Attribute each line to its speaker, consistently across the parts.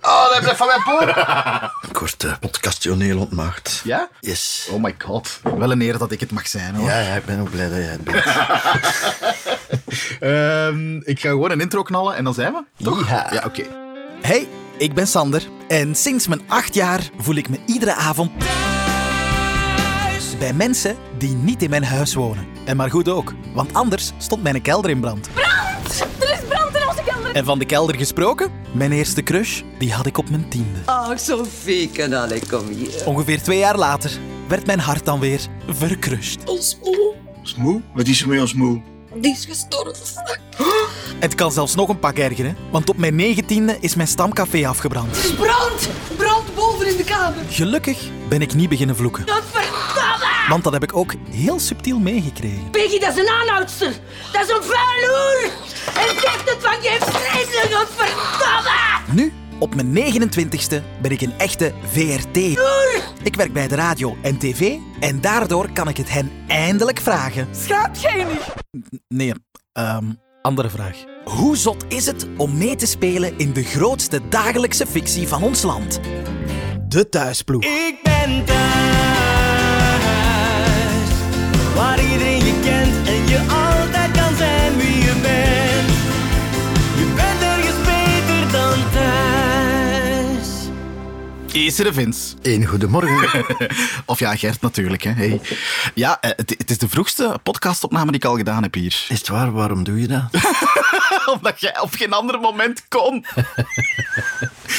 Speaker 1: van mijn poort.
Speaker 2: Een korte podcastioneel ontmaagd.
Speaker 1: Ja?
Speaker 2: Yes.
Speaker 1: Oh my god. Wel een eer dat ik het mag zijn hoor.
Speaker 2: Ja, ja, ik ben ook blij dat jij het bent.
Speaker 1: Ehm, ik ga gewoon een intro knallen en dan zijn we. Toch?
Speaker 2: Yeeha.
Speaker 1: Ja, oké.
Speaker 3: Hey, ik ben Sander en sinds mijn acht jaar voel ik me iedere avond thuis bij mensen die niet in mijn huis wonen. En maar goed ook, want anders stond mijn kelder in brand.
Speaker 4: Er is brand in onze kelder.
Speaker 3: En van de kelder gesproken, mijn eerste crush, die had ik op mijn tiende.
Speaker 5: Ach, Sophie, kanale, kom hier.
Speaker 3: Ongeveer twee jaar later werd mijn hart dan weer verkrust.
Speaker 4: Ons moe.
Speaker 2: Ons moe? Wat is er met ons moe?
Speaker 4: Die is gestorven.
Speaker 3: Het kan zelfs nog een pak ergeren, want op mijn negentiende is mijn stamcafé afgebrand.
Speaker 5: Brand! Brand boven in de kamer.
Speaker 3: Gelukkig ben ik niet beginnen vloeken,
Speaker 4: Dat verdomme.
Speaker 3: want dat heb ik ook heel subtiel meegekregen.
Speaker 4: Peggy, dat is een aanhoudster. Dat is een vuiloer. En zegt het van je vreselijk. Dat verdomme.
Speaker 3: Nu, op mijn 29ste, ben ik een echte VRT. Ik werk bij de radio en tv en daardoor kan ik het hen eindelijk vragen.
Speaker 5: Schaamt jij niet?
Speaker 3: Nee, ehm, andere vraag. Hoe zot is het om mee te spelen in de grootste dagelijkse fictie van ons land? De thuisploeg.
Speaker 6: Ik ben thuis, waar iedereen je kent en je altijd kan zijn wie je bent. Je bent ergens beter dan thuis.
Speaker 1: Is er de Vince?
Speaker 2: Eén goedemorgen.
Speaker 1: Of ja, Gert natuurlijk. Hè. Hey. Ja, eh, het, het is de vroegste podcastopname die ik al gedaan heb hier.
Speaker 2: Is het waar? Waarom doe je dat?
Speaker 1: Omdat jij op geen ander moment kon.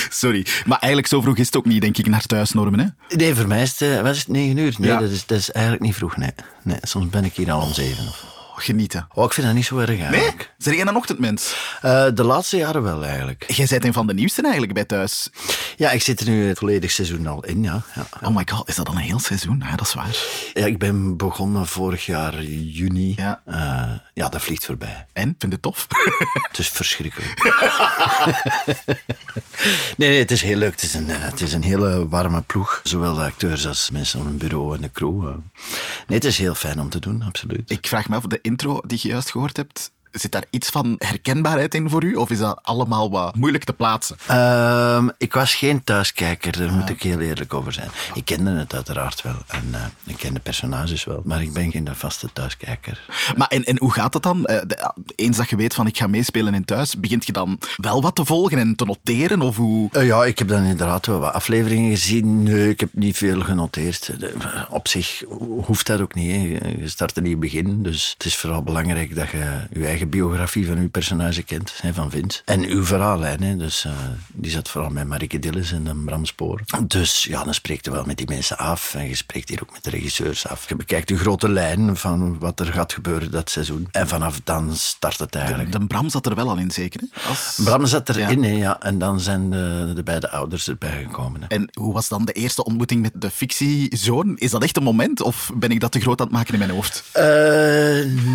Speaker 1: Sorry, maar eigenlijk zo vroeg is het ook niet, denk ik, naar thuisnormen. Hè?
Speaker 2: Nee, voor mij is het, eh, was het negen uur. Nee,
Speaker 1: Ja.
Speaker 2: dat, is, dat is eigenlijk niet vroeg. Nee. nee, soms ben ik hier al om zeven. Of...
Speaker 1: Oh, genieten.
Speaker 2: Oh, ik vind dat niet zo erg
Speaker 1: Nee?
Speaker 2: eigenlijk.
Speaker 1: Zijn jij een ochtendmens?
Speaker 2: Eh, de laatste jaren wel eigenlijk.
Speaker 1: Jij bent een van de nieuwsten eigenlijk bij thuis.
Speaker 2: Ja, ik zit er nu het volledig seizoen al in. Ja. Ja.
Speaker 1: Oh my god, is dat al een heel seizoen? Ja, dat is waar.
Speaker 2: Ja, ik ben begonnen vorig jaar juni.
Speaker 1: Ja.
Speaker 2: Eh, ja, dat vliegt voorbij.
Speaker 1: En? Vind je het tof?
Speaker 2: Het is verschrikkelijk. nee, nee, het is heel leuk. Het is een, eh, het is een hele warme ploeg. Zowel de acteurs als mensen op hun bureau en de crew. eh. Nee, het is heel fijn om te doen, absoluut.
Speaker 1: ik vraag me af, de intro die je juist gehoord hebt, zit daar iets van herkenbaarheid in voor u? Of is dat allemaal wat moeilijk te plaatsen?
Speaker 2: Ehm, ik was geen thuiskijker, daar moet ik heel eerlijk over zijn. Ik kende het uiteraard wel en eh, ik ken de personages wel, maar ik ben geen vaste thuiskijker.
Speaker 1: Maar en, en hoe gaat dat dan? Eh, de- Eens dat je weet van ik ga meespelen in thuis, begint je dan wel wat te volgen en te noteren? Of hoe...
Speaker 2: Eh, ja, ik heb dan inderdaad wel wat afleveringen gezien. Nee, ik heb niet veel genoteerd. De- Op zich hoeft dat ook niet. hè. Je start een nieuw begin, dus het is vooral belangrijk dat je je eigen biografie van uw personage kent, hè, van Vince. En uw verhaallijn, hè. dus eh, die zat vooral met Marike Dillis en eh, Bram Spoor. Dus ja, dan spreekt je wel met die mensen af en je spreekt hier ook met de regisseurs af. Je bekijkt de grote lijn van wat er gaat gebeuren dat seizoen. En vanaf dan start het eigenlijk.
Speaker 1: De Bram zat er wel al in, zeker? Hè? Als-
Speaker 2: Bram zat erin, hè, ja. En dan zijn de, de beide ouders erbij gekomen. hè.
Speaker 1: En hoe was dan de eerste ontmoeting met de fictiezoon? Is dat echt een moment of ben ik dat te groot aan het maken in mijn hoofd?
Speaker 2: Eh,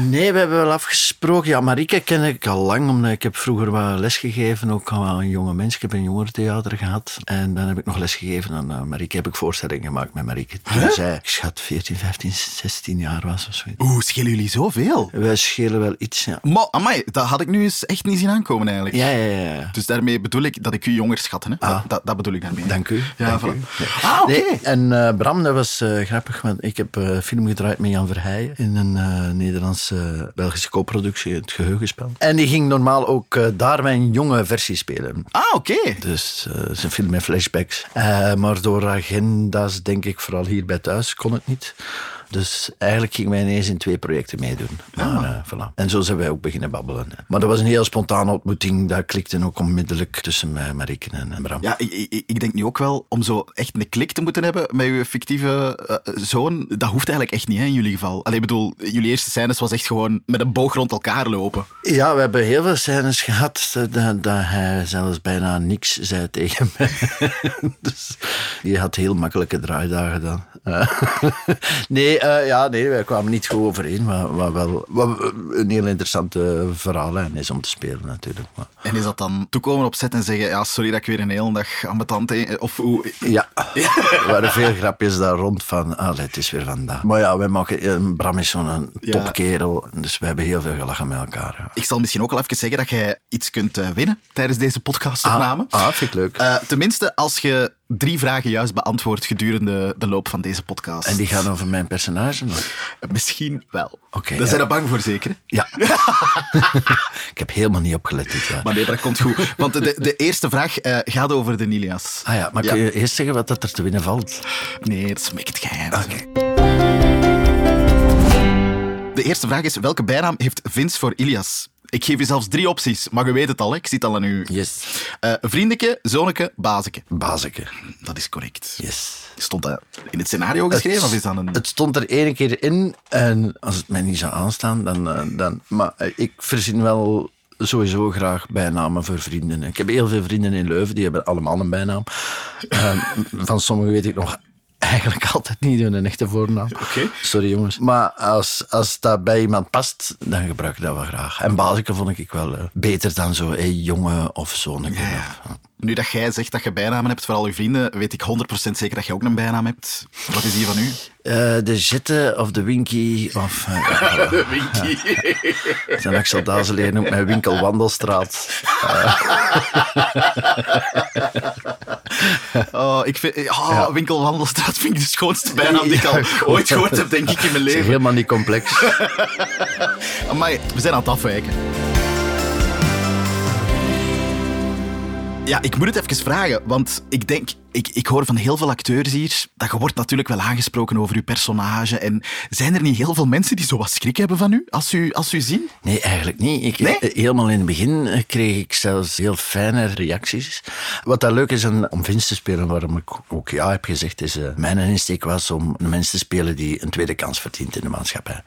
Speaker 2: nee, we hebben wel afgesproken. Ja, Marike ken ik al lang, omdat ik heb vroeger wat lesgegeven, ook aan een jonge mens. Ik heb een jongerentheater gehad. En dan heb ik nog lesgegeven aan eh, Marieke. Heb ik voorstellingen gemaakt met Marieke. Toen zij, ik schat, 14, 15, 16 jaar was of zoiets.
Speaker 1: Oeh, schelen jullie zoveel?
Speaker 2: Wij schelen wel iets, ja.
Speaker 1: Maar, amai, dat had ik nu eens echt niet zien aankomen eigenlijk.
Speaker 2: Ja, ja, ja. ja.
Speaker 1: Dus daarmee bedoel ik dat ik u jonger schat. Hè? Dat, dat, dat bedoel ik daarmee.
Speaker 2: Ah. Dank u.
Speaker 1: Ja,
Speaker 2: dank
Speaker 1: voilà.
Speaker 2: u.
Speaker 1: Ah, oké.
Speaker 2: Nee, en eh, Bram, dat was eh, grappig, want ik heb eh, een film gedraaid met Jan Verheijen in een eh, Nederlandse-Belgische co-productie, Het Geheugenspel. En die ging normaal ook eh, daar mijn jonge versie spelen.
Speaker 1: Ah, oké.
Speaker 2: Dus eh, het is een film met flashbacks. Eh, maar door agenda's, denk ik, vooral hier bij thuis, kon het niet. Dus eigenlijk gingen wij ineens in twee projecten meedoen.
Speaker 1: Ah.
Speaker 2: Maar, eh, voilà. En zo zijn wij ook beginnen babbelen. Maar dat was een heel spontane ontmoeting. Dat klikte ook onmiddellijk tussen mij, Marieke en en Bram.
Speaker 1: Ja, ik, ik, ik denk nu ook wel om zo echt een klik te moeten hebben met uw fictieve eh, zoon. Dat hoeft eigenlijk echt niet hè, in jullie geval. Allee, ik bedoel, jullie eerste scènes was echt gewoon met een boog rond elkaar lopen.
Speaker 2: Ja, we hebben heel veel scènes gehad eh, dat, dat hij zelfs bijna niks zei tegen mij. dus je had heel makkelijke draaidagen dan. Eh, nee, Nee, eh, ja, nee, wij kwamen niet goed overeen, maar, maar wel wat een heel interessante verhaallijn is om te spelen natuurlijk. Maar,
Speaker 1: En is dat dan toekomen op set en zeggen, ja, sorry dat ik weer een hele dag ambetant... he- Of hoe...
Speaker 2: ja, er waren veel grapjes daar rond van, allee, het is weer vandaag. Maar ja, wij maken, eh, Bram is zo'n
Speaker 1: Ja.
Speaker 2: topkerel, dus we hebben heel veel gelachen met elkaar. ja.
Speaker 1: Ik zal misschien ook al even zeggen dat jij iets kunt eh, winnen tijdens deze podcastopname.
Speaker 2: Ah, ah, vind ik leuk.
Speaker 1: Eh, tenminste, als je drie vragen juist beantwoordt gedurende de loop van deze podcast. Eh,
Speaker 2: En die gaan over mijn personage nog.
Speaker 1: Misschien wel.
Speaker 2: Oké,
Speaker 1: Daar
Speaker 2: ja.
Speaker 1: zijn we bang voor, zeker? hè?
Speaker 2: Ja. ik heb helemaal niet opgelet dit jaar.
Speaker 1: Maar nee, maar dat komt goed. Want de, de eerste vraag eh, gaat over de Nilias.
Speaker 2: Ah ja, maar kun je eerst zeggen wat dat er te winnen valt?
Speaker 1: Nee, dat is een beetje het geheim. De eerste vraag is, welke bijnaam heeft Vince voor Ilias? Ik geef je zelfs drie opties, maar je weet het al, hè? ik zit al aan u.
Speaker 2: Yes.
Speaker 1: Eh, vriendeke, zoneke, bazeke.
Speaker 2: Bazeke.
Speaker 1: Dat is correct.
Speaker 2: Yes.
Speaker 1: Stond dat in het scenario geschreven of is dat een...
Speaker 2: Het stond er één keer in en als het mij niet zou aanstaan, dan... eh, dan maar eh, ik verzin wel sowieso graag bijnamen voor vrienden. Ik heb heel veel vrienden in Leuven, die hebben allemaal een bijnaam. Ehm, van sommigen weet ik nog eigenlijk altijd niet hun echte voornaam.
Speaker 1: Oké.
Speaker 2: Sorry jongens. Maar als, als dat bij iemand past, dan gebruik ik dat wel graag. En Bazeke vond ik wel eh, beter dan zo, hey, jongen of zo'n.
Speaker 1: Nu dat jij zegt dat je bijnamen hebt voor al je vrienden, weet ik 100% zeker dat jij ook een bijnaam hebt. Wat is die van u?
Speaker 2: Eh, de Jette of de Winky of... eh,
Speaker 1: De Winky.
Speaker 2: Zijn Axel Dazeleer noemt mij winkel Wandelstraat.
Speaker 1: Oh, ik vind, oh, Winkel Wandelstraat vind ik de schoonste bijnaam die ik al
Speaker 2: Ja, goed.
Speaker 1: ooit gehoord heb, denk ik, in mijn
Speaker 2: Het is
Speaker 1: leven.
Speaker 2: helemaal niet complex.
Speaker 1: Amai, we zijn aan het afwijken. Ja, ik moet het even vragen, want ik denk, ik, ik hoor van heel veel acteurs hier, dat je wordt natuurlijk wel aangesproken over je personage. En zijn er niet heel veel mensen die zo wat schrik hebben van u, als u, als u zien?
Speaker 2: Nee, eigenlijk niet. Ik,
Speaker 1: Nee?
Speaker 2: eh, Helemaal in het begin eh, kreeg ik zelfs heel fijne reacties. Wat dat leuk is aan- om Vince te spelen, waarom ik ook ja heb gezegd, is eh, mijn insteek was om mensen te spelen die een tweede kans verdient in de maatschappij.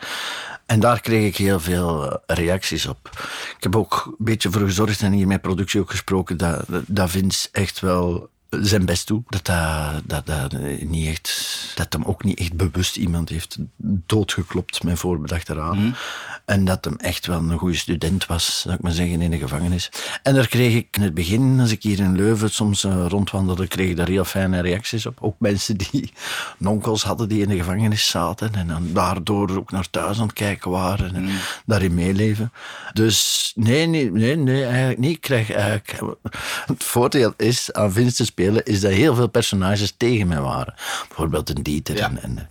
Speaker 2: En daar kreeg ik heel veel eh, reacties op. Ik heb ook een beetje voor gezorgd en hier met productie ook gesproken dat, dat Vince echt wel zijn best toe. Dat, dat, dat, dat, eh, niet echt, dat hem ook niet echt bewust iemand heeft doodgeklopt met voorbedachte raad. En dat hem echt wel een goede student was, zou ik maar zeggen, in de gevangenis. En daar kreeg ik in het begin, als ik hier in Leuven soms eh, rondwandelde, kreeg ik daar heel fijne reacties op. Ook mensen die nonkels hadden die in de gevangenis zaten en dan daardoor ook naar thuis aan het kijken waren en daarin meeleven. Dus nee, nee, nee, nee eigenlijk niet. Ik krijg eigenlijk... Het voordeel is aan Vince te spelen, is dat heel veel personages tegen mij waren. Bijvoorbeeld een Dieter.
Speaker 1: Ja.
Speaker 2: En, en,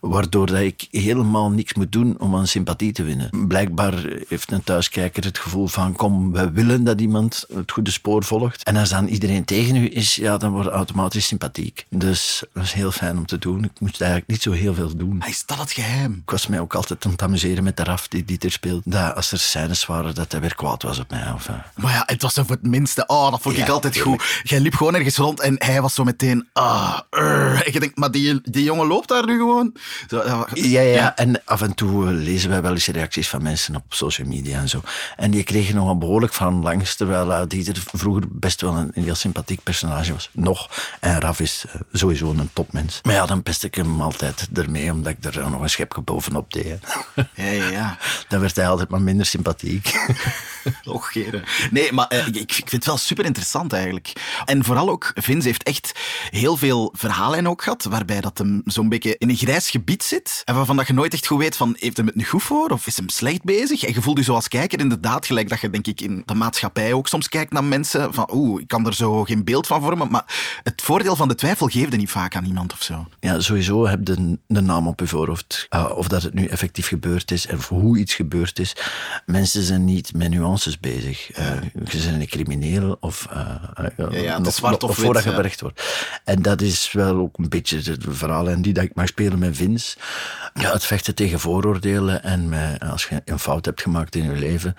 Speaker 2: waardoor dat ik helemaal niks moet doen om aan sympathie te winnen. Blijkbaar heeft een thuiskijker het gevoel van, kom, we willen dat iemand het goede spoor volgt. En als dan iedereen tegen u is, ja, dan wordt automatisch sympathiek. Dus dat is heel fijn om te doen. Ik moest eigenlijk niet zo heel veel doen.
Speaker 1: Ah, Is dat het geheim?
Speaker 2: Ik was mij ook altijd aan het amuseren met de raf die Dieter speelt. Dat als er scènes waren, dat hij weer kwaad was op mij. Of, eh,
Speaker 1: Maar ja, het was zo voor het minste. Oh, dat vond ik
Speaker 2: Ja,
Speaker 1: altijd goed. Jij liep gewoon ergens rond en hij was zo meteen... Ah, urgh. En je denkt, maar die, die jongen loopt daar nu gewoon? Zo, ja,
Speaker 2: Ja, ja, en af en toe eh, lezen wij wel eens reacties van mensen op social media en zo. En die kregen nogal behoorlijk van langs, terwijl eh, Dieter vroeger best wel een, een heel sympathiek personage was. Nog. En Raf is eh, sowieso een topmens. Maar ja, dan pest ik hem altijd ermee, omdat ik er eh, nog een schepje bovenop deed. hè.
Speaker 1: ja, ja. ja.
Speaker 2: dan werd hij altijd maar minder sympathiek.
Speaker 1: Och, Gere. Nee, maar eh, ik, ik vind het wel super interessant eigenlijk. En vooral ook, Vince heeft echt heel veel verhalen ook gehad, waarbij dat hem zo'n beetje in een grijs gebied zit. En waarvan dat je nooit echt goed weet van, heeft hem het nu goed voor of is hem slecht bezig? En je voelt je zo als kijker inderdaad gelijk dat je denk ik in de maatschappij ook soms kijkt naar mensen van, oeh, ik kan er zo geen beeld van vormen. Maar het voordeel van de twijfel geefde niet vaak aan iemand of zo.
Speaker 2: Ja, sowieso heb de, de naam op je voorhoofd. Uh, of dat het nu effectief gebeurd is en voor hoe iets gebeurd is. Mensen zijn niet met nuances bezig. Uh, ze zijn een crimineel of... eh, eh,
Speaker 1: ja, het
Speaker 2: nog-
Speaker 1: is zwart
Speaker 2: nog
Speaker 1: of
Speaker 2: voordat
Speaker 1: wit, ja.
Speaker 2: gewerkt wordt. En dat is wel ook een beetje het verhaal. En die dat ik mag spelen met Vince. Ja, het vechten tegen vooroordelen en met, als je een fout hebt gemaakt in je leven...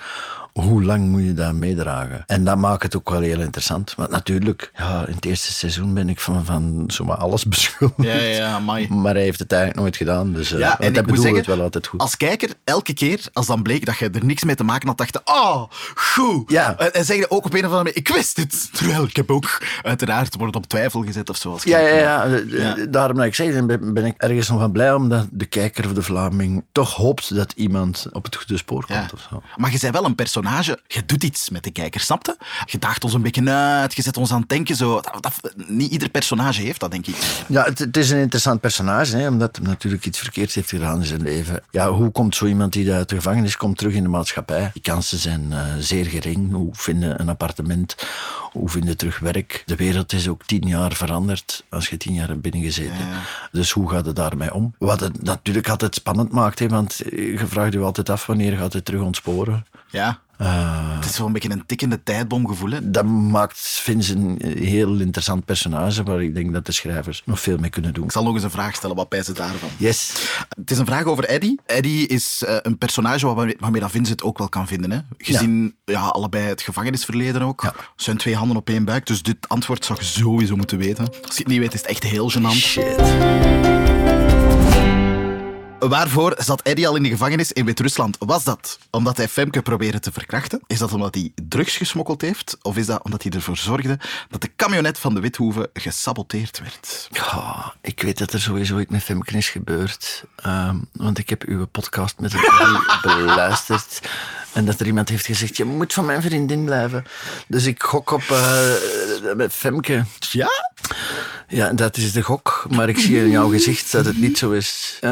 Speaker 2: hoe lang moet je daar meedragen? En dat maakt het ook wel heel interessant. Want natuurlijk, ja, in het eerste seizoen ben ik van, van zomaar alles beschuldigd.
Speaker 1: Ja, ja, amai.
Speaker 2: Maar hij heeft het eigenlijk nooit gedaan. Dus eh,
Speaker 1: Ja,
Speaker 2: want
Speaker 1: en
Speaker 2: hij
Speaker 1: ik moet
Speaker 2: bedoelt
Speaker 1: zeggen,
Speaker 2: het wel altijd goed.
Speaker 1: als kijker, elke keer als dan bleek dat je er niks mee te maken had, dacht je, oh, goed.
Speaker 2: Ja.
Speaker 1: En, en zeg je ook op een of andere manier, ik wist het. Terwijl ik heb ook uiteraard worden op twijfel gezet of zo. Als
Speaker 2: Ja, ja,
Speaker 1: kijker.
Speaker 2: ja. Eh, eh, Daarom dat ik zeg, ben, ben ik ergens nog van blij omdat de kijker of de Vlaming toch hoopt dat iemand op het goede spoor komt.
Speaker 1: Ja.
Speaker 2: Of zo.
Speaker 1: Maar je bent wel een personage. Je doet iets met de kijker, snap je? Je daagt ons een beetje uit, je zet ons aan het denken. Zo. Dat, dat- niet ieder personage heeft dat, denk ik.
Speaker 2: Ja, het, het is een interessant personage, hè, omdat hij natuurlijk iets verkeerds heeft gedaan in zijn leven. Ja, hoe komt zo iemand die uit de gevangenis komt terug in de maatschappij? Die kansen zijn eh, zeer gering. Hoe vinden een appartement? Hoe vinden terug werk? De wereld is ook tien jaar veranderd als je tien jaar hebt binnengezeten. Dus hoe gaat het daarmee om? Wat het natuurlijk altijd spannend maakt, hè, want eh, je vraagt je altijd af wanneer gaat het terug ontsporen.
Speaker 1: Ja.
Speaker 2: Eh.
Speaker 1: het is wel een beetje een tikkende tijdbom gevoel. hè.
Speaker 2: Dat maakt Vince een eh, heel interessant personage waar ik denk dat de schrijvers nog veel mee kunnen doen.
Speaker 1: Ik zal nog eens een vraag stellen. Wat pijzen daarvan?
Speaker 2: Yes.
Speaker 1: Het is een vraag over Eddy. Eddy is eh, een personage waarmee, waarmee dat Vince het ook wel kan vinden. Hè? Gezien ja. allebei het gevangenisverleden ook. Zijn twee handen op één buik. Dus dit antwoord zou je sowieso moeten weten. Als je het niet weet, is het echt heel gênant.
Speaker 2: Shit.
Speaker 1: Waarvoor zat Eddy al in de gevangenis in Wit-Rusland? Was dat omdat hij Femke probeerde te verkrachten? Is dat omdat hij drugs gesmokkeld heeft? Of is dat omdat hij ervoor zorgde dat de camionet van de Withoeve gesaboteerd werd?
Speaker 2: Ja, ik weet dat er sowieso iets met Femke is gebeurd. Ehm, want ik heb uw podcast met het beluisterd. En dat er iemand heeft gezegd, je moet van mijn vriendin blijven. Dus ik gok op eh, met Femke.
Speaker 1: Ja?
Speaker 2: Ja, dat is de gok. Maar ik zie in jouw gezicht dat het niet zo is. Eh,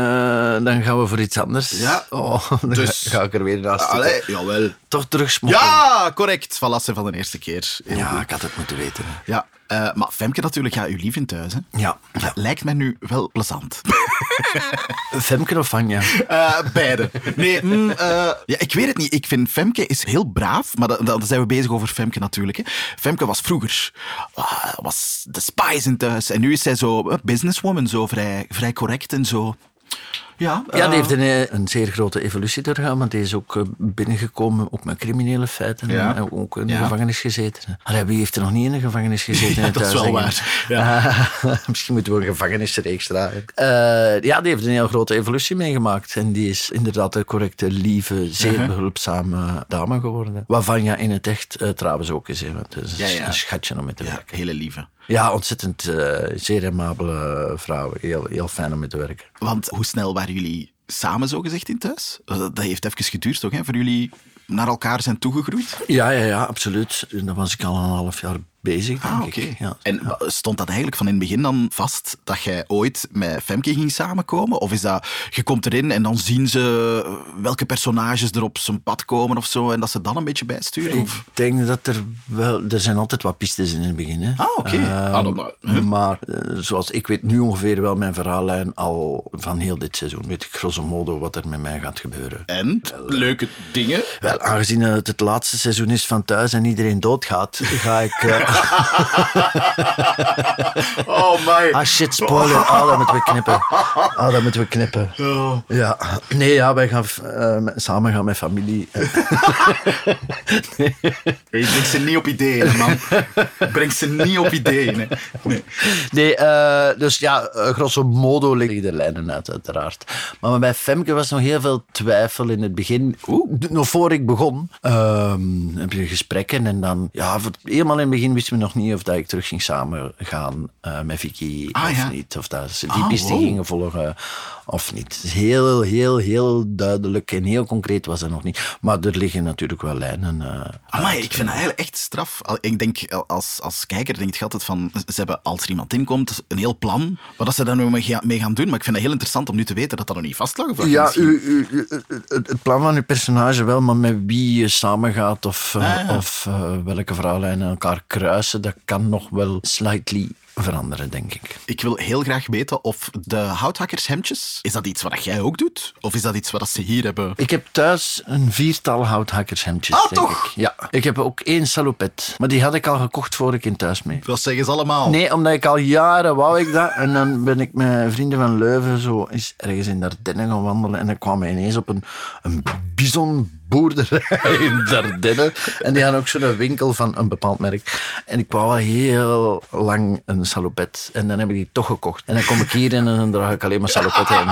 Speaker 2: dan gaan we voor iets anders.
Speaker 1: Ja.
Speaker 2: Oh, dan
Speaker 1: Dus-
Speaker 2: ga, ga ik er weer naast zitten.
Speaker 1: Allee, jawel.
Speaker 2: Toch terugsmokkelen.
Speaker 1: Ja, correct. Valasse van de eerste keer. Heel
Speaker 2: Ja,
Speaker 1: goed.
Speaker 2: ik had het moeten weten.
Speaker 1: Ja, eh, maar Femke natuurlijk, ja, uw lief in thuis. Hè?
Speaker 2: Ja. ja.
Speaker 1: Lijkt mij nu wel plezant.
Speaker 2: Femke of Anja?
Speaker 1: Eh, beide. Nee, mm, eh, ja, ik weet het niet. Ik vind Femke is heel braaf, maar da- da- dan zijn we bezig over Femke natuurlijk. Hè. Femke was vroeger ah, was de spies in thuis en nu is zij zo eh, businesswoman, zo vrij, vrij correct en zo. Ja,
Speaker 2: Ja,
Speaker 1: eh,
Speaker 2: die heeft een, eh, een zeer grote evolutie doorgaan, want die is ook eh, binnengekomen ook met criminele feiten
Speaker 1: Ja.
Speaker 2: en ook in de
Speaker 1: Ja.
Speaker 2: gevangenis gezeten. Allee, wie heeft er nog niet in de gevangenis gezeten?
Speaker 1: Ja, dat is wel
Speaker 2: waar. misschien moeten we een gevangenisreeks draaien. Eh, ja, die heeft een heel grote evolutie meegemaakt en die is inderdaad een correcte, lieve, zeer
Speaker 1: Uh-huh.
Speaker 2: behulpzame dame geworden. Waarvan ja in het echt eh, trouwens ook is, hè, want het is
Speaker 1: Ja, ja.
Speaker 2: een schatje om mee te
Speaker 1: ja,
Speaker 2: werken.
Speaker 1: hele lieve.
Speaker 2: Ja, ontzettend eh, zeer amabele vrouw. Heel, heel fijn om mee te werken.
Speaker 1: Want hoe snel waren jullie samen zo gezegd in thuis? Eh, Dat dat heeft even geduurd toch, hè? Voor jullie naar elkaar zijn toegegroeid?
Speaker 2: Ja, ja, ja, absoluut. En Dan was ik al een half jaar bezig, denk
Speaker 1: Ah,
Speaker 2: ik.
Speaker 1: oké.
Speaker 2: Ja.
Speaker 1: En wa- stond dat eigenlijk van in het begin dan vast dat jij ooit met Femke ging samenkomen? Of is dat, je komt erin en dan zien ze eh, welke personages er op zijn pad komen of zo en dat ze dan een beetje bijsturen?
Speaker 2: Ik
Speaker 1: Of?
Speaker 2: denk dat er wel... Er zijn altijd wat pistes in het begin. Hè.
Speaker 1: Ah, oké.
Speaker 2: Ehm,
Speaker 1: Ah, dan maar, hè.
Speaker 2: maar eh, zoals ik weet nu ongeveer wel mijn verhaallijn al van heel dit seizoen. Weet ik grosso modo wat er met mij gaat gebeuren.
Speaker 1: En? Leuke dingen?
Speaker 2: Wel, aangezien het het laatste seizoen is van thuis en iedereen doodgaat, ga ik... eh,
Speaker 1: Oh my.
Speaker 2: ah, shit, spoiler. Ah, dat moeten we knippen. Ah, dat moeten we knippen.
Speaker 1: oh.
Speaker 2: Ja. Nee, ja, wij gaan eh, met- samen gaan met familie. eh,
Speaker 1: Je brengt ze niet op ideeën, hè, man. Je brengt ze niet op ideeën. hè. Nee.
Speaker 2: Nee, eh, dus ja, eh, grosso modo liggen de lijnen uit, uiteraard. Maar bij Femke was nog heel veel twijfel in het begin. D- Nog voor ik begon, ehm, heb je gesprekken en dan... Ja, voor- helemaal in het begin wisten we nog niet of dat ik terug ging samengaan eh met Vicky
Speaker 1: Ah,
Speaker 2: of
Speaker 1: ja.
Speaker 2: niet. Of dat ze die
Speaker 1: Ah,
Speaker 2: piste
Speaker 1: wow.
Speaker 2: gingen volgen of niet. Dus heel, heel, heel duidelijk en heel concreet was dat nog niet. Maar er liggen natuurlijk wel lijnen. eh,
Speaker 1: Amai, ik vind dat eigenlijk echt straf. Al- Ik denk, eh, als, als kijker denk je altijd van, ze hebben, als er iemand inkomt, een heel plan. Wat dat ze daar nu mee ga- mee gaan doen. Maar ik vind dat heel interessant om nu te weten dat dat nog niet vast lag. of dat
Speaker 2: Ja,
Speaker 1: misschien-
Speaker 2: u, u- u- het, het plan van uw personage wel, maar met wie je samengaat of, eh,
Speaker 1: Ah, ja.
Speaker 2: of eh, welke verhaallijnen elkaar kruisen, dat kan nog wel slightly veranderen, denk ik.
Speaker 1: Ik wil heel graag weten of de houthakkershemdjes, is dat iets wat jij ook doet? Of is dat iets wat ze hier hebben?
Speaker 2: Ik heb thuis een viertal houthakkershemdjes,
Speaker 1: Ah,
Speaker 2: denk
Speaker 1: toch?
Speaker 2: ik. Ja, ik heb ook één salopet, maar die had ik al gekocht voor ik in thuis mee.
Speaker 1: Dat zeggen ze allemaal.
Speaker 2: Nee, omdat ik al jaren wou ik dat. En dan ben ik met vrienden van Leuven zo eens ergens in Dardenne gaan wandelen. En dan kwam ik ineens op een, een bison boerderij in Dardenne. En die hadden ook zo'n winkel van een bepaald merk. En ik wou al heel lang een salopet. En dan heb ik die toch gekocht. En dan kom ik hier en dan draag ik alleen maar salopet heen.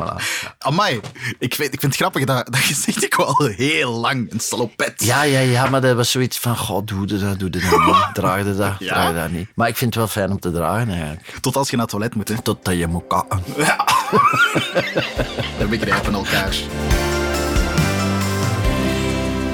Speaker 2: Voilà.
Speaker 1: Amai, ik, weet, ik vind het grappig dat, dat je zegt, ik wou al heel lang een salopet.
Speaker 2: Ja, ja, ja, maar dat was zoiets van, god, doe je dat, doe je dat niet. Draag je dat, draag je dat niet. Maar ik vind het wel fijn om te dragen eigenlijk.
Speaker 1: Tot als je naar het toilet moet, hè.
Speaker 2: Totdat je moet kakken.
Speaker 1: We begrijpen elkaar.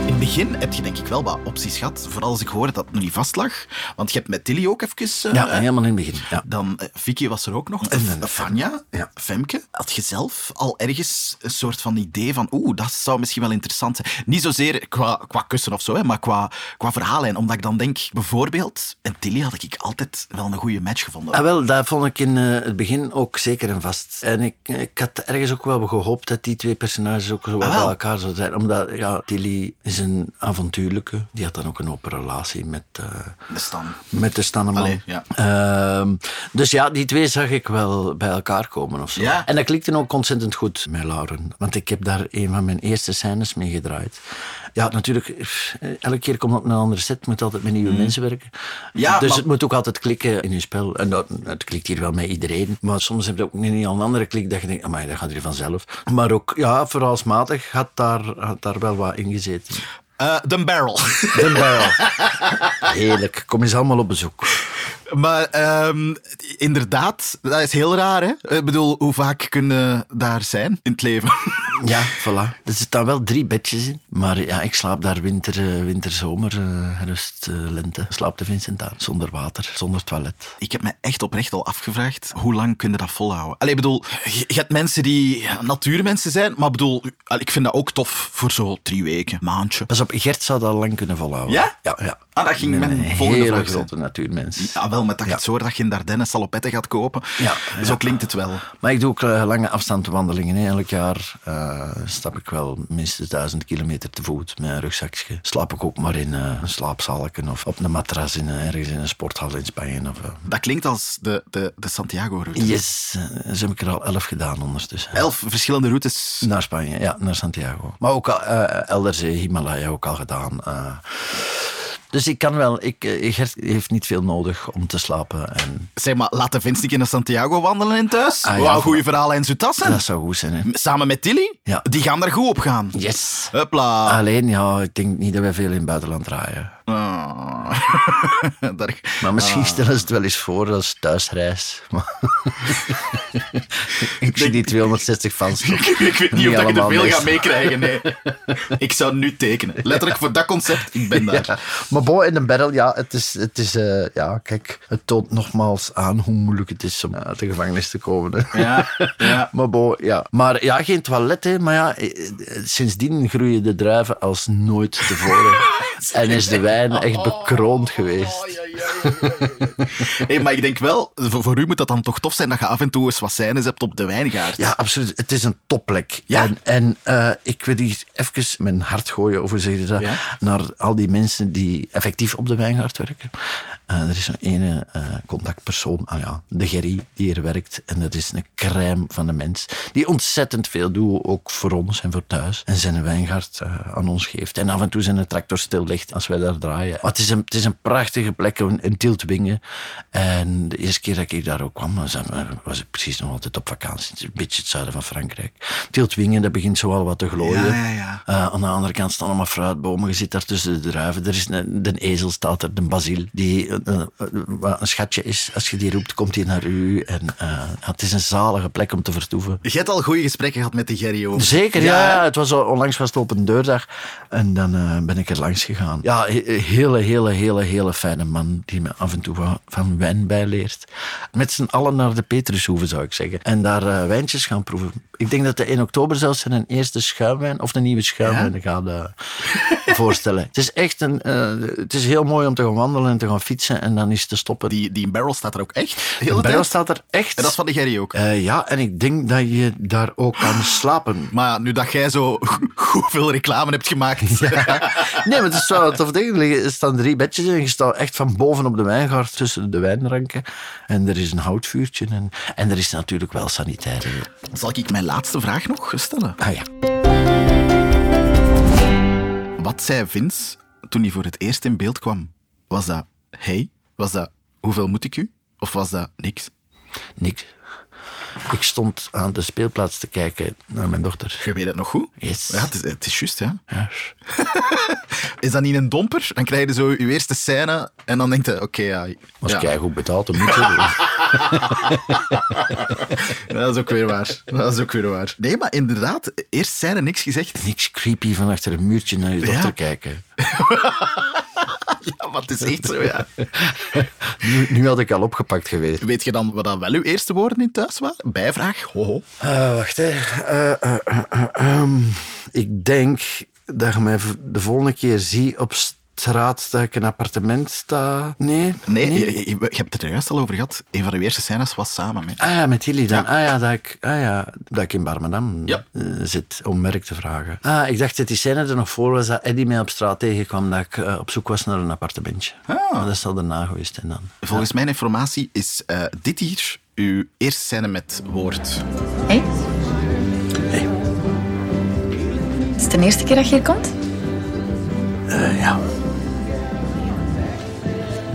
Speaker 1: In het begin heb je denk ik wel wat opties gehad. Vooral als ik hoorde dat het nog niet vast lag. Want je hebt met Tilly ook even... eh,
Speaker 2: Ja,
Speaker 1: eh,
Speaker 2: helemaal in het begin. Ja.
Speaker 1: Dan, eh, Vicky was er ook nog. Eh, Fanja,
Speaker 2: Ja.
Speaker 1: Femke. Had je zelf al ergens een soort van idee van... Oeh, dat zou misschien wel interessant zijn. Niet zozeer qua, qua kussen of zo, hè, maar qua, qua verhaallijn. Omdat ik dan denk, bijvoorbeeld... En Tilly had ik altijd wel een goede match gevonden.
Speaker 2: Ah, wel, daar vond ik in eh, het begin ook zeker en vast. En ik, ik had ergens ook wel gehoopt dat die twee personages ook zo wat
Speaker 1: Ah, wel.
Speaker 2: bij elkaar zouden zijn. Omdat, ja, Tilly is een avontuurlijke. Die had dan ook een open relatie met, eh,
Speaker 1: Dus dan...
Speaker 2: met de Stanneman.
Speaker 1: Allee, ja.
Speaker 2: Ehm, dus ja, die twee zag ik wel bij elkaar komen of zo.
Speaker 1: Ja.
Speaker 2: En dat klikte ook ontzettend goed met Lauren. Want ik heb daar een van mijn eerste scènes mee gedraaid. Ja, natuurlijk, pff, elke keer komt op een andere set, moet altijd met nieuwe mensen werken.
Speaker 1: Mhm. Ja,
Speaker 2: dus
Speaker 1: maar-
Speaker 2: het moet ook altijd klikken in je spel. En dat, het klikt hier wel met iedereen. Maar soms heb je ook niet al een andere klik dat je denkt, amai, dat gaat hier vanzelf. Maar ook, ja, vooralsmatig had daar, had daar wel wat in gezeten.
Speaker 1: Eh, de barrel.
Speaker 2: Den Barrel. Heerlijk, kom eens allemaal op bezoek.
Speaker 1: Maar ehm, inderdaad, dat is heel raar. Hè? Ik bedoel, hoe vaak kunnen daar zijn in het leven?
Speaker 2: Ja, voilà. Er zitten wel drie bedjes in. Maar ja, ik slaap daar winter, eh, winter zomer, eh, herfst, eh, lente. Slaapte Vincent daar. Zonder water, zonder toilet.
Speaker 1: Ik heb me echt oprecht al afgevraagd, hoe lang kun je dat volhouden? Allee, ik bedoel, je je hebt mensen die natuurmensen zijn, maar ik bedoel, ik vind dat ook tof voor zo drie weken, maandje.
Speaker 2: Pas op, Gert zou dat lang kunnen volhouden.
Speaker 1: Ja?
Speaker 2: Ja. ja.
Speaker 1: Ah, dat ging
Speaker 2: Ik ben
Speaker 1: mijn
Speaker 2: een
Speaker 1: volgende
Speaker 2: hele
Speaker 1: vraag zijn.
Speaker 2: grote natuurmens.
Speaker 1: Ja, wel, met dat je het zo hoort dat je in Dardenne salopetten gaat kopen.
Speaker 2: Ja,
Speaker 1: Zo
Speaker 2: ja.
Speaker 1: klinkt het wel.
Speaker 2: Maar ik doe ook eh, lange afstandwandelingen. hè. Elk jaar eh, stap ik wel minstens duizend kilometer te voet met een rugzakje. Slaap ik ook maar in eh, een slaapzalken of op een matras in, eh, ergens in een sporthal in Spanje. Of, eh.
Speaker 1: Dat klinkt als de, de, de Santiago-route.
Speaker 2: Yes, eh, zo heb ik er al elf gedaan ondertussen.
Speaker 1: Elf verschillende routes.
Speaker 2: Naar Spanje, ja, naar Santiago. Maar ook al, eh, elders, eh, Himalaya ook al gedaan. eh. dus ik kan wel, ik, eh, Gert heeft niet veel nodig om te slapen. En
Speaker 1: Zeg maar, laat de Vince niet in de Santiago wandelen in thuis.
Speaker 2: Ah, ja,
Speaker 1: Wauw,
Speaker 2: voilà.
Speaker 1: goede verhalen en zoetassen.
Speaker 2: dat zou goed zijn, hè.
Speaker 1: Samen met Tilly?
Speaker 2: Ja.
Speaker 1: Die gaan daar goed op gaan.
Speaker 2: Yes.
Speaker 1: Hupla.
Speaker 2: Alleen, ja, ik denk niet dat wij veel in het buitenland draaien.
Speaker 1: Ah. Daar-
Speaker 2: Maar misschien stellen ze het wel eens voor als thuisreis. Maar- ik zie die 260 fans toch
Speaker 1: ik weet niet of dat je er
Speaker 2: allemaal
Speaker 1: veel
Speaker 2: mee
Speaker 1: gaat
Speaker 2: staan.
Speaker 1: meekrijgen. Nee. ik zou nu tekenen. Letterlijk voor dat concept, ik ben daar.
Speaker 2: Ja. Maar bon, in een barrel, ja, het is, het is eh, ja, kijk, het toont nogmaals aan hoe moeilijk het is om uit de gevangenis te komen. hè.
Speaker 1: Ja, ja.
Speaker 2: Maar bon, ja. Maar ja, geen toilet, hè. Maar ja, eh, eh, sindsdien groeien de druiven als nooit tevoren. en is de wijn echt bekroond geweest.
Speaker 1: Hey, maar ik denk wel, voor, voor u moet dat dan toch tof zijn dat je af en toe eens wat scènes hebt op de wijngaard.
Speaker 2: Ja, absoluut. Het is een topplek.
Speaker 1: Ja.
Speaker 2: En, en eh, ik wil hier even mijn hart gooien, of hoe zeg je dat,
Speaker 1: Ja.
Speaker 2: naar al die mensen die effectief op de wijngaard werken. Eh, er is zo'n ene eh, contactpersoon, ah ja, de Gerry, die hier werkt. En dat is een crème van de mens. Die ontzettend veel doet, ook voor ons en voor thuis. En zijn wijngaard eh, aan ons geeft. En af en toe zijn de tractor stil ligt als wij daar draaien. Maar het is een, het is een prachtige plek, een, een Tiltwingen. En de eerste keer dat ik daar ook kwam, was, eh, was ik precies nog altijd op vakantie. Het is Een beetje het zuiden van Frankrijk. Tiltwingen, dat begint zoal wat te glooien.
Speaker 1: Ja, ja, ja.
Speaker 2: Eh, aan de andere kant staan allemaal fruitbomen. Je zit daar tussen de druiven. Er is een, de ezel staat er, de basil, die eh, eh, wat een schatje is. Als je die roept, komt hij naar u. En, eh, het is een zalige plek om te vertoeven.
Speaker 1: Je hebt al goede gesprekken gehad met de Gerry over.
Speaker 2: Zeker, ja. ja. Het was al- onlangs was het open deurdag en dan eh, ben ik er langs gegaan. Ja, he- hele, hele, hele, hele fijne man die me af en toe wa- van wijn bijleert. Met z'n allen naar de Petrushoeve, zou ik zeggen. En daar eh, wijntjes gaan proeven. Ik denk dat hij in oktober zelfs zijn eerste schuimwijn of een nieuwe schuimwijn gaat eh, voorstellen. Het is echt een... eh, het is heel mooi om te gaan wandelen en te gaan fietsen en dan is te stoppen. Die
Speaker 1: Die, die barrel staat er ook echt. Heel de
Speaker 2: barrel
Speaker 1: tijd.
Speaker 2: staat er echt.
Speaker 1: En dat is van de Gerry ook.
Speaker 2: Eh, ja, en ik denk dat je daar ook kan slapen.
Speaker 1: Maar ja, nu dat jij zo hoeveel reclame hebt gemaakt.
Speaker 2: Nee, maar het is wel tof ding. Er liggen- Er staan drie bedjes in. Je staat echt van boven op de wijngaard tussen de wijnranken. En er is een houtvuurtje. En, en er is natuurlijk wel sanitair.
Speaker 1: Zal ik mijn laatste vraag nog stellen?
Speaker 2: Ah ja.
Speaker 1: Wat zei Vince toen hij voor het eerst in beeld kwam? Was dat hey? Was dat hoeveel moet ik u? Of was dat niks?
Speaker 2: Niks. Ik stond aan de speelplaats te kijken naar mijn dochter.
Speaker 1: Je weet het nog goed?
Speaker 2: Yes.
Speaker 1: Ja, het is, het is juist, ja.
Speaker 2: Ja.
Speaker 1: Is dat niet een domper? Dan krijg je zo je eerste scène en dan denk je, oké, ja.
Speaker 2: Was
Speaker 1: ja.
Speaker 2: keigoed betaald, dat moet je.
Speaker 1: Dat is ook weer waar. Dat is ook weer waar. Nee, maar inderdaad, eerst scène niks gezegd.
Speaker 2: Niks creepy van achter een muurtje naar je dochter
Speaker 1: Ja.
Speaker 2: kijken.
Speaker 1: Ja, maar het is echt zo, ja.
Speaker 2: Nu, nu had ik al opgepakt geweest.
Speaker 1: Weet je dan wat dan wel uw eerste woorden in thuis waren? Bijvraag, hoho.
Speaker 2: Eh, wacht, hè. Eh, eh, eh, eh, ehm. ik denk dat je mij v- de volgende keer ziet op straat dat ik een appartement sta. Nee?
Speaker 1: Nee, Je, je- je hebt het er juist al over gehad. Een van uw eerste scènes was samen met...
Speaker 2: Ah ja, met jullie dan. Ah, ja, dat ik, ah ja, dat ik in Barmenam
Speaker 1: Ja.
Speaker 2: eh, zit, om merk te vragen. Ah, ik dacht dat die scène er nog voor was dat Eddie mij op straat tegenkwam dat ik eh, op zoek was naar een appartementje. Maar dat is al daarna geweest en dan.
Speaker 1: Volgens mijn informatie is eh, dit hier uw eerste scène met woord.
Speaker 7: Hey. Is het de eerste keer dat je hier komt?
Speaker 2: ja.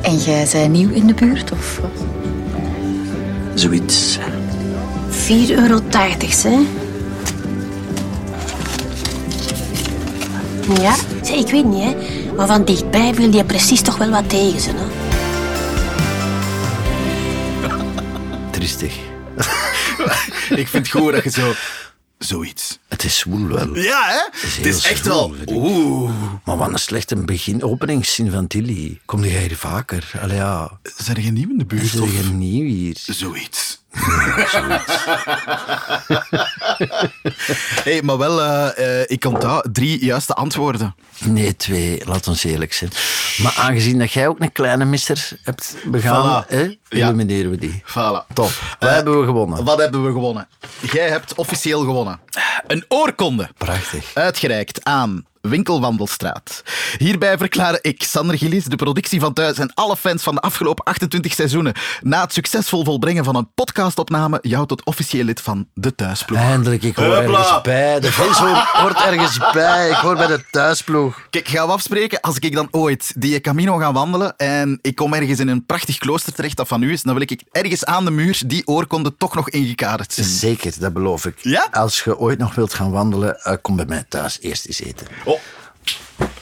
Speaker 7: En jij bent nieuw in de buurt? Of
Speaker 2: Zoiets.
Speaker 7: 4,80 euro, hè?
Speaker 8: Ja, Zeg, ik weet niet, hè. Maar van dichtbij viel je precies toch wel wat tegen ze, hè.
Speaker 2: Triestig.
Speaker 1: Ik vind gewoon dat je zo... Zoiets.
Speaker 2: Het is zwoel wel.
Speaker 1: Ja, hè?
Speaker 2: is
Speaker 1: het is
Speaker 2: heel
Speaker 1: echt
Speaker 2: zwoel,
Speaker 1: wel...
Speaker 2: vind ik.
Speaker 1: Oeh.
Speaker 2: Eh, Maar wat een slechte begin openingszin van Tilly. Kom jij hier vaker? Allee, ja.
Speaker 1: Zijn er nieuw in de
Speaker 2: Is
Speaker 1: buurt?
Speaker 2: er
Speaker 1: of
Speaker 2: geen nieuw hier?
Speaker 1: Zoiets. hey, maar wel, eh, eh, ik onthoud drie juiste antwoorden.
Speaker 2: Nee, twee. Laat ons eerlijk zijn. Maar aangezien dat jij ook een kleine mister hebt begaan,
Speaker 1: Voilà.
Speaker 2: hè,
Speaker 1: Ja.
Speaker 2: elimineren we die.
Speaker 1: Voilà.
Speaker 2: Top.
Speaker 1: Eh,
Speaker 2: Wat hebben we gewonnen?
Speaker 1: Wat hebben we gewonnen? Jij hebt officieel gewonnen. Een oorkonde.
Speaker 2: Prachtig.
Speaker 1: Uitgereikt aan Winkelwandelstraat. Hierbij verklaar ik, Sander Gillis, de productie van Thuis en alle fans van de afgelopen 28 seizoenen, na het succesvol volbrengen van een podcastopname, jou tot officieel lid van de Thuisploeg.
Speaker 2: Eindelijk, ik hoor
Speaker 1: Hupla.
Speaker 2: ergens bij. De Vince hoort- hoort ergens bij. Ik hoor bij de thuisploeg.
Speaker 1: Kijk, gaan we afspreken als ik dan ooit die Camino ga wandelen en ik kom ergens in een prachtig klooster terecht dat van u is, dan wil ik ergens aan de muur die oorkonde toch nog ingekaderd zien.
Speaker 2: Zeker, dat beloof ik.
Speaker 1: Ja?
Speaker 2: Als je ooit nog wilt gaan wandelen, eh, kom bij mij thuis eerst eens eten.
Speaker 1: Oh.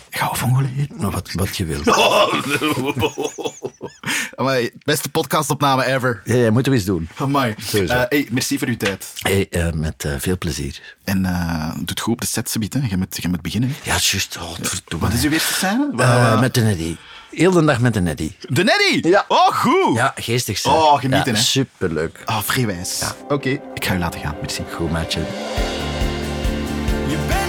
Speaker 1: Ik hou van geleden.
Speaker 2: Nou, Wat, wat je wilt.
Speaker 1: Amai, beste podcastopname ever.
Speaker 2: Ja, ja, moeten we eens doen.
Speaker 1: Amai.
Speaker 2: Sowieso.
Speaker 1: Eh, hey, merci voor uw tijd.
Speaker 2: Hey, eh, met eh, veel plezier.
Speaker 1: En eh, doet goed op de set, Sabiet, hè. Je moet, je moet beginnen. hè.
Speaker 2: Ja, juist. Oh,
Speaker 1: Wat is uw eerste scène? Waar-
Speaker 2: Eh, met de Neddy. Heel de dag met de Neddy.
Speaker 1: De Neddy!
Speaker 2: Ja.
Speaker 1: Oh, goed! Ah,
Speaker 2: Ja, geestig zijn.
Speaker 1: Oh, genieten,
Speaker 2: ja,
Speaker 1: hè.
Speaker 2: Superleuk.
Speaker 1: Oh, vrijwijs. Oké, ik ga u laten gaan. Merci.
Speaker 2: Goed, maatje.
Speaker 6: Je bent